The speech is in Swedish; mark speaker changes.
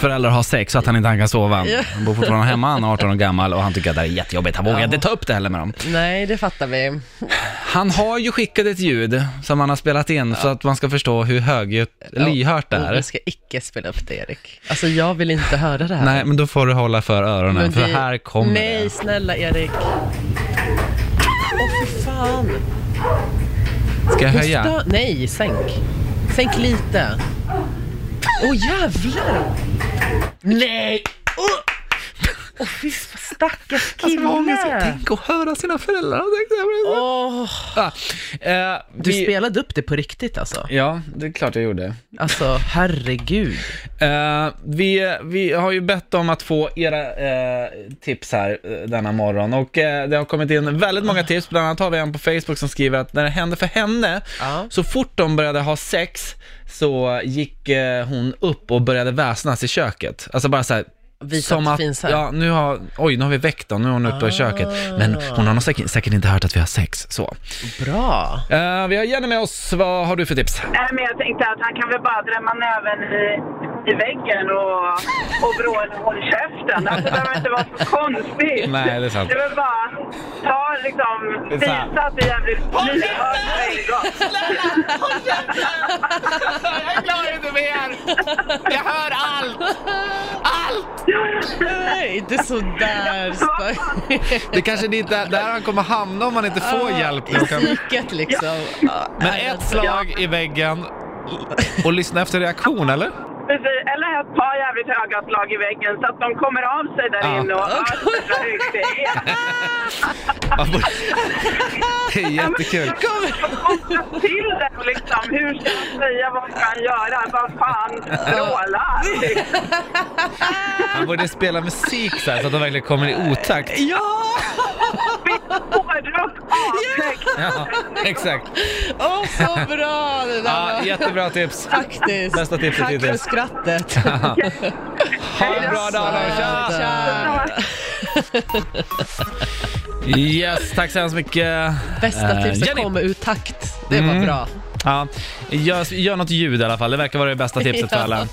Speaker 1: föräldrar har sex så att han inte han kan sova.
Speaker 2: Ja.
Speaker 1: Han bor fortfarande hemma, han är 18 år gammal och han tycker att det här är jättejobbigt. Han vågar
Speaker 2: Ja.
Speaker 1: inte ta upp det heller med dem.
Speaker 2: Nej, det fattar vi.
Speaker 1: Han har ju skickat ett ljud som han har spelat in så att man ska förstå hur högljutt, lyhört det
Speaker 2: Du
Speaker 1: är.
Speaker 2: ska icke spela upp det, Erik. Alltså, jag vill inte höra det här.
Speaker 1: Nej, men då får du hålla för öronen,
Speaker 2: Men
Speaker 1: för
Speaker 2: det-
Speaker 1: här kommer
Speaker 2: Nej,
Speaker 1: det.
Speaker 2: snälla Erik. Åh, för fan.
Speaker 1: Ska jag höja?
Speaker 2: Stör... Nej, sänk. Sänk lite. Åh, jävlar. Nej! Åh, Åh, fy fan, stackars kille.
Speaker 1: Tänk att höra sina föräldrar. Tänk det här blir så-
Speaker 2: Åh,
Speaker 1: Ah, eh,
Speaker 2: du
Speaker 1: vi-
Speaker 2: spelade upp det på riktigt alltså?
Speaker 1: Ja, det är klart jag gjorde.
Speaker 2: Alltså, herregud.
Speaker 1: Eh, vi, vi har ju bett om att få era eh, tips här eh, denna morgon och eh, det har kommit in väldigt många tips, bland annat har vi en på Facebook som skriver att när det hände för henne,
Speaker 2: Ja.
Speaker 1: så fort de började ha sex så gick eh, hon upp och började väsnas i köket. Alltså bara så här.
Speaker 2: Visa att det finns här.
Speaker 1: ja, nu har, oj nu har vi väckt hon, nu är hon uppe i köket. Men hon har nog säkert, säkert inte hört att vi har sex, så.
Speaker 2: Bra.
Speaker 1: Eh, vi har Jenny med oss, vad har du för tips?
Speaker 3: Nej, men jag tänkte att han kan väl bara drämma näven i, i väggen och, och vråla håll käften. Alltså, det behöver inte vara så konstigt.
Speaker 1: Nej, det är sant.
Speaker 3: Det är väl bara ta liksom,
Speaker 1: Det är sant.
Speaker 3: visa att det är jävligt lyhört på en gång.
Speaker 1: Jag klarar inte mer! Jag hör allt! Allt!
Speaker 2: Nej, inte sådär.
Speaker 1: Det kanske är dit där, där han kommer hamna om man inte får hjälp.
Speaker 2: I
Speaker 1: Nu kan-
Speaker 2: psyket liksom. Ja. alltså.
Speaker 1: Men ett slag i väggen och lyssna efter reaktion, eller?
Speaker 3: Precis. Eller ett par jävligt höga slag i väggen så att de kommer av sig där
Speaker 1: Ja.
Speaker 3: inne och hör hur högt det är.
Speaker 1: Det är jättekul.
Speaker 3: Koppla till den liksom. Hur ska man säga? Vad ska han göra? Vad fan? Vråla!
Speaker 1: Han borde spela musik så här så att de verkligen kommer i otakt.
Speaker 2: Ja!
Speaker 3: Hårdrock avtäckt!
Speaker 1: Ja, exakt.
Speaker 2: Åh, så bra det där
Speaker 1: Ja,
Speaker 2: var.
Speaker 1: jättebra tips.
Speaker 2: Faktiskt.
Speaker 1: Bästa tipset
Speaker 2: Tack för
Speaker 1: hittills.
Speaker 2: skrattet.
Speaker 1: Ha en bra dag då. Tja!
Speaker 2: Tja.
Speaker 1: Yes, tack så hemskt mycket.
Speaker 2: Bästa
Speaker 1: Eh,
Speaker 2: tipset
Speaker 1: Jenny. Mm.
Speaker 2: kommer ur takt. Det var bra.
Speaker 1: Ja, gör, gör något ljud i alla fall. Det verkar vara det bästa tipset för alla.